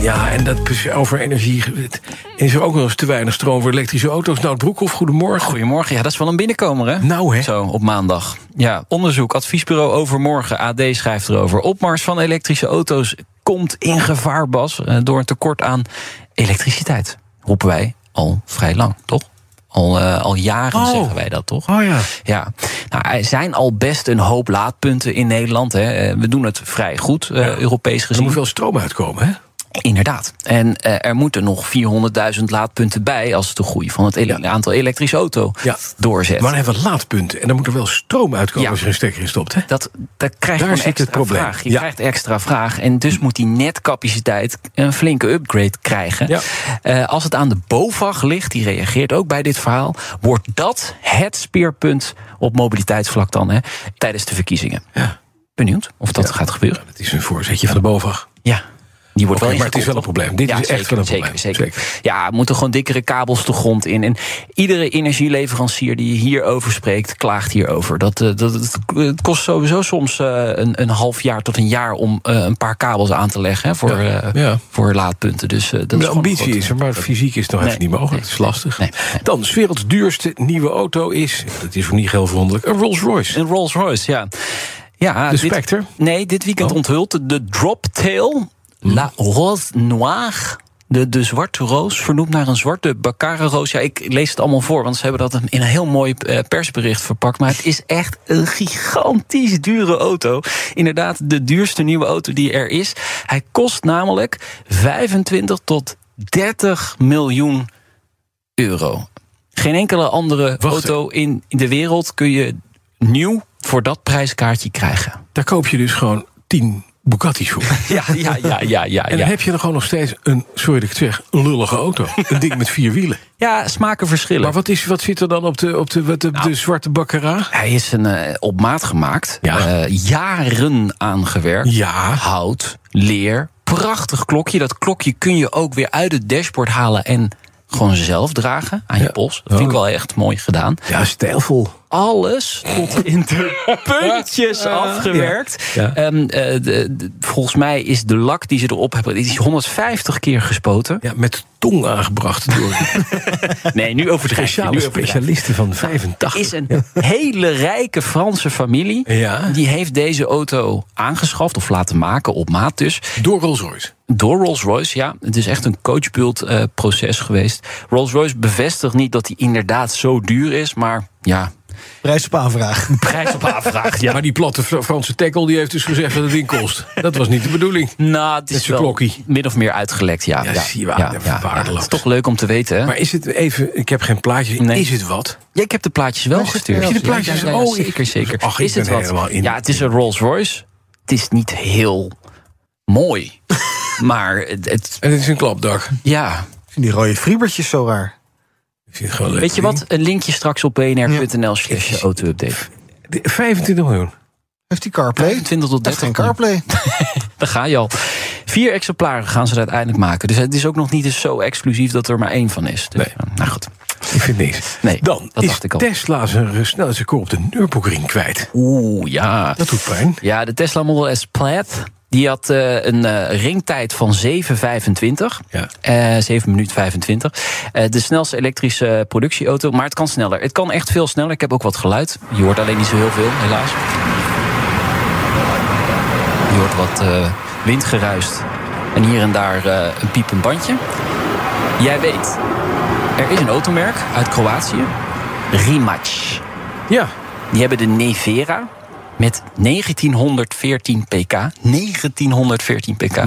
Ja, en dat is over energie. het- Is er ook wel eens te weinig stroom voor elektrische auto's? Nou, Broekhoff, goedemorgen. Goedemorgen. Ja, dat is wel een binnenkomer, hè? Nou, hè. Zo, op maandag. Ja, onderzoek, adviesbureau overmorgen. AD schrijft erover. Opmars van elektrische auto's komt in gevaar, Bas. eh, Door een tekort aan elektriciteit. Roepen wij al vrij lang, toch? Al, eh, al jaren Oh. zeggen wij dat, toch? Oh ja. Ja, nou, er zijn al best een hoop laadpunten in Nederland. Hè. Eh, We doen het vrij goed, eh, Europees Er gezien. moet veel stroom uitkomen, hè? Inderdaad. En eh, er moeten nog 400.000 laadpunten bij als het de groei van het ele- aantal elektrische auto Ja. doorzet. Maar dan hebben we laadpunten. En dan moet er wel stroom uitkomen Ja. als je een stekker in stopt, hè? dat, dat krijg je Daar gewoon zit het extra probleem. vraag. Je Ja. krijgt extra vraag. En dus moet die netcapaciteit een flinke upgrade krijgen. Ja. Eh, als het aan de BOVAG ligt, die reageert ook bij dit verhaal... wordt dat het speerpunt op mobiliteitsvlak dan hè, tijdens de verkiezingen. Ja. Benieuwd of dat Ja. gaat gebeuren. Het is een voorzetje van de BOVAG. Ja. Die wordt Oké, wel maar het is wel een ingekocht, probleem. Dit toch? is echt wel een probleem. Zeker, zeker. Ja, er moeten gewoon dikkere kabels de grond in. En iedere energieleverancier die hierover spreekt, klaagt hierover. Dat, eh, dat, het- het kost sowieso soms eh, een, een half jaar tot een jaar om eh, een paar kabels aan te leggen hè, voor, Ja, eh, ja. voor laadpunten. Dus eh, dat is De gewoon een ambitie grote- is er, maar fysiek is het nog Nee. even niet mogelijk. Het is lastig. Nee, nee. Dan, 's werelds duurste nieuwe auto is... Dat is voor niet heel verwonderlijk. Een Rolls-Royce. Een Rolls Royce, ja. De ja dit- Spectre? Nee, dit weekend Oh. Hm. onthult de- de Droptail La Rose Noire. De, de zwarte roos, vernoemd naar een zwarte Baccarat-roos. Ja, ik lees het allemaal voor, want ze hebben dat in een heel mooi eh, persbericht verpakt. Maar het is echt een gigantisch dure auto. Inderdaad, de duurste nieuwe auto die er is. Hij kost namelijk 25 tot 30 miljoen euro. Geen enkele andere Wacht. auto in de wereld kun je nieuw voor dat prijskaartje krijgen. Daar koop je dus gewoon 10 Bugatti's voor. Ja, ja, ja, ja, ja. En dan heb je dan gewoon nog steeds een, sorry dat ik het zeg, een lullige auto. een ding met vier wielen. Ja, smaken verschillen. Maar wat, is, wat zit er dan op de, op de, wat de, Nou. de zwarte bakkera? Hij is een, eh, op maat gemaakt, Ja. eh, jaren aangewerkt. Ja. Hout, leer, prachtig klokje. Dat klokje kun je ook weer uit het dashboard halen en gewoon zelf dragen aan je Ja. pols. Dat vind ik wel echt mooi gedaan. Ja, stijlvol. alles tot in de puntjes afgewerkt. Ja. Ehm, eh, de- de- volgens mij is de lak die ze erop hebben, die is 150 keer gespoten. Ja, met tong aangebracht door Nee, nu overdrijf je. speciale Nu overdrijf je. specialisten van Er 85. is een hele rijke Franse familie. Ja. Die heeft deze auto aangeschaft of laten maken op maat dus. Door Rolls-Royce. Door Rolls-Royce, ja. Het is echt een coachbult eh, proces geweest. Rolls-Royce bevestigt niet dat hij inderdaad zo duur is. Maar ja, Prijs op aanvraag. prijs op aanvraag. Ja. Maar die platte Fra- Franse tackle die heeft dus gezegd dat het ding kost. Dat was niet de bedoeling. Nou, het Met is zijn wel klokkie. min of meer uitgelekt, ja. Ja, zie je wel. Ja, waardeloos. Het is toch leuk om te weten, hè? Maar is het even, ik heb geen plaatje, Nee. is het wat? Ja, ik heb de plaatjes wel gestuurd. heb je de plaatjes? Ja, ja, ja, Oh, ik- zeker, zeker. Ach, ik is het ben helemaal wat? in- Ja, het is een Rolls Royce. Het is niet heel mooi. maar het, het- En het is een klapdak. ja. Ik vind die rode friebertjes zo raar. Ik vind het gewoon leuk. Weet je wat? Een linkje straks op bnr.nl slash auto-update. De- 25 miljoen. Heeft die CarPlay? 20 tot Dat is 30. geen CarPlay. Daar ga je al. Vier exemplaren gaan ze er uiteindelijk maken. Dus het is ook nog niet eens zo exclusief dat er maar één van is. Dus, Nee. Nou goed. Ik vind niks. Nee, Dan dat is dacht ik al. Tesla zijn snelheidsrecord op de Nürburgring kwijt. Oeh, ja. Dat doet pijn. Ja, de Tesla Model S Plaid. Die had eh, een eh, ringtijd van 7,25. Ja. Eh 7 minuut 25. Eh, de snelste elektrische productieauto. Maar het kan sneller. Het kan echt veel sneller. Ik heb ook wat geluid. Je hoort alleen niet zo heel veel, helaas. Je hoort wat eh windgeruist. En hier en daar eh, een piepend bandje. Jij weet, er is een automerk uit Kroatië. Rimac. Ja, Die hebben de Nevera met 1914 pk. 1914 pk.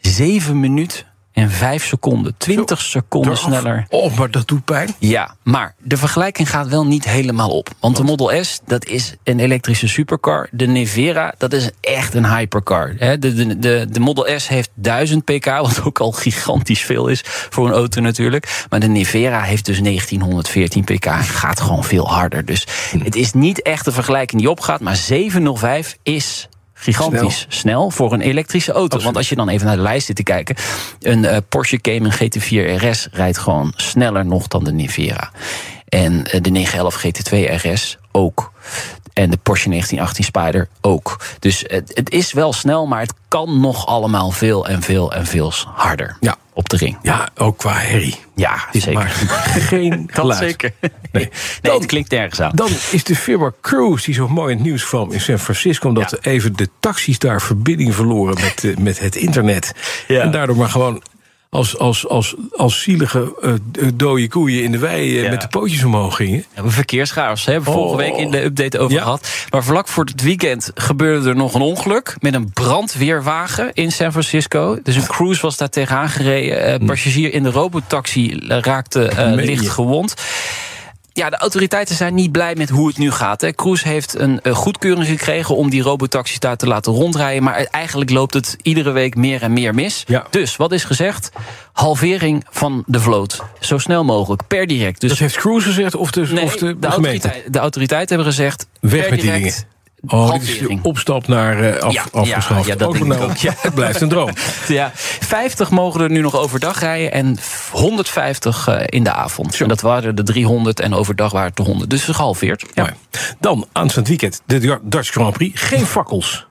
7 minuten en 5 seconden. 20 seconden eraf. sneller. Oh, maar dat doet pijn. Ja, maar de vergelijking gaat wel niet helemaal op. Want de Model S, dat is een elektrische supercar. De Nevera, dat is echt een hypercar. Hè, De, de, de, de Model S heeft 1000 pk, wat ook al gigantisch veel is voor een auto natuurlijk. Maar de Nevera heeft dus 1914 pk en gaat gewoon veel harder. Dus het is niet echt de vergelijking die opgaat. Maar 705 is Gigantisch snel, voor een elektrische auto. Want als je dan even naar de lijst zit te kijken... een eh, Porsche Cayman GT4 RS rijdt gewoon sneller nog dan de Nivera. En eh, de 911 GT2 RS ook. En de Porsche 1918 Spyder ook. Dus het, het is wel snel, maar het kan nog allemaal veel en veel en veel harder Ja. op de ring. Ja, ook qua herrie. Ja, Dit zeker. maakt geen Dat geluid. zeker. Nee, Dan- het klinkt nergens aan. Dan is de firma Cruise, die zo mooi in het nieuws kwam in San Francisco... omdat Ja. even de taxis daar verbinding verloren met, eh, met het internet. Ja. En daardoor maar gewoon als, als, als, als zielige eh, dode koeien in de wei eh, Ja. met de pootjes omhoog gingen. We hebben verkeerschaos. Hè? Vorige Oh. week in de update over Ja. gehad. Maar vlak voor het weekend gebeurde er nog een ongeluk. Met een brandweerwagen in San Francisco. Dus een cruise was daar tegenaan gereden. Eh, passagier in de robotaxi eh, raakte eh, Hmm. Meen je? licht gewond. Ja, de autoriteiten zijn niet blij met hoe het nu gaat. Hè. Cruise heeft een eh, goedkeuring gekregen om die robotaxis daar te laten rondrijden. Maar eigenlijk loopt het iedere week meer en meer mis. Ja. Dus wat is gezegd? Halvering van de vloot. Zo snel mogelijk, per direct. Dus Dat heeft Cruise gezegd of de, Nee, of de, de, gemeente. autoriteiten, de autoriteiten hebben gezegd... Weg per met die direct dingen. Oh, dit is de halvering. opstap naar eh af, Ja, afgeschaft. ja, ja, dat Ook denk ik nou, ook, ja. Het blijft een droom. Ja, 50 mogen er nu nog overdag rijden en 150 eh, in de avond. En dat waren de 300 en overdag waren het de 100. Dus gehalveerd. Ja. Mooi. Dan, aanstaand weekend, de Dutch Grand Prix. Geen fakkels.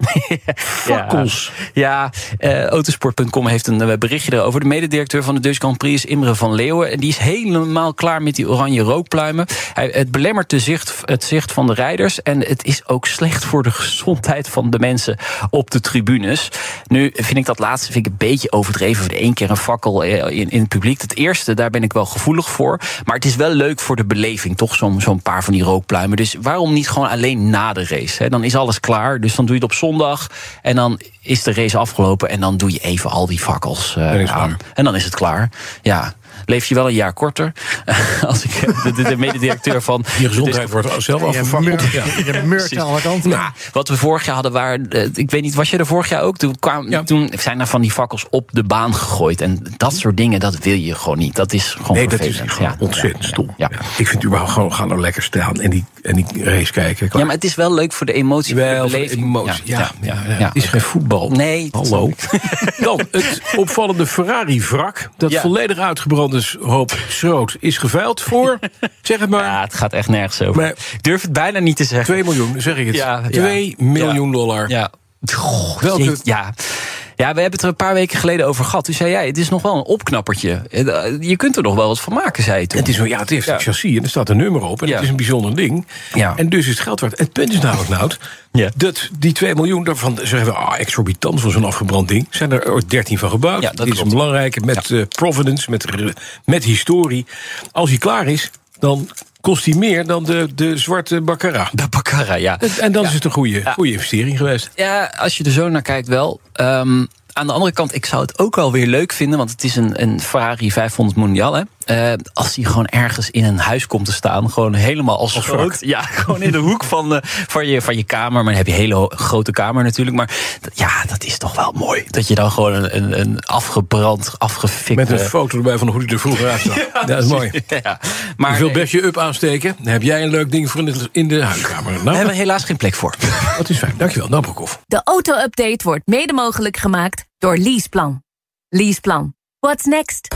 fakkels. Ja, eh, autosport.com heeft een eh, berichtje erover. De mededirecteur van de Dutch Grand Prix is Imre van Leeuwen. En die is helemaal klaar met die oranje rookpluimen. Hij, het belemmert de zicht, het zicht van de rijders. En het is ook slecht voor de gezondheid van de mensen op de tribunes. Nu vind ik dat laatste vind ik een beetje overdreven. Voor de één keer een fakkel eh, in, in het publiek. Het eerste, daar ben ik wel gevoelig voor. Maar het is wel leuk voor de beleving, toch? Zo'n zo'n paar van die rookpluimen. Dus waarom niet gewoon alleen na de race? Hè? Dan is alles klaar. Dus dan doe je het op zondag. En dan is de race afgelopen. En dan doe je even al die fakkels eh, En is het aan. klaar. En dan is het klaar. Ja. Leef je wel een jaar korter? Als ik eh, de, de, de mededirecteur van. Je gezondheid Dus- wordt zelf afgefakkeld. Ja. Je meurt aan alle kanten. Nou, wat we vorig jaar hadden, waren, eh, ik weet niet, was je er vorig jaar ook? Toen, kwam, Ja. toen zijn er van die fakkels op de baan gegooid. En dat soort dingen, dat wil je gewoon niet. Dat is gewoon Nee, dat is vervelend. gewoon Ja, ontzettend ja, ja, stom. Ja. Ja. Ik vind überhaupt gewoon, ga nou lekker staan en die, en die race kijken. Ja, Klaar. maar het is wel leuk voor de emotie, Wel, voor de voor de beleving. emotie. Ja, ja, ja, ja. Het is geen voetbal. Nee, dat Hallo. Dan het opvallende Ferrari-wrak. Dat Ja. volledig uitgebrand is, hoop schroot, is geveild voor, zeg het maar, Ja, het gaat echt nergens over. Maar- ik durf het bijna niet te zeggen. 2 miljoen, zeg ik het. Ja, ja. 2 miljoen dollar. Ja. Goh, Welke- jeet- ja. ja, we hebben het er een paar weken geleden over gehad. Toen zei jij, het is nog wel een opknappertje. Eh, Je kunt er nog wel wat van maken, zei je toen. Het, is, wel- ja, het heeft een chassis en er staat een nummer op. En Ja. het is een bijzonder ding. Ja. En dus is het geld waard. Het punt is namelijk, Nout, Ja. dat die 2 miljoen daarvan zeggen we, ah, exorbitant voor zo'n afgebrand ding. Zijn er ooit 13 van gebouwd. Ja, dat Dit is een klopt. belangrijke met eh, provenance, met, re- met historie. Als hij klaar is, dan kost hij meer dan de, de zwarte Baccarat. De Baccara, ja. En dan is het een goede, goede investering geweest. Ja, als je er zo naar kijkt wel. Ehm, aan de andere kant, ik zou het ook wel weer leuk vinden... want het is een, een Ferrari 500 Mondial, hè. Eh, als die gewoon ergens in een huis komt te staan... gewoon helemaal als, Als groot. wrak. Ja, gewoon in de hoek van, eh, van, je, van je kamer. Maar dan heb je een hele ho- grote kamer natuurlijk. Maar dat- ja, dat is toch wel mooi. Dat je dan gewoon een, een, een afgebrand, afgefikt... Met een eh, foto erbij van hoe hij er vroeger uitzag. dat is mooi. ja, maar Je wil nee, best je up aansteken. Dan heb jij een leuk ding voor in de, in de huiskamer. we Nou, hebben er helaas geen plek voor. dat is fijn. Dankjewel, Nou, Broekhoff. De auto-update wordt mede mogelijk gemaakt door Leaseplan. Leaseplan. What's next?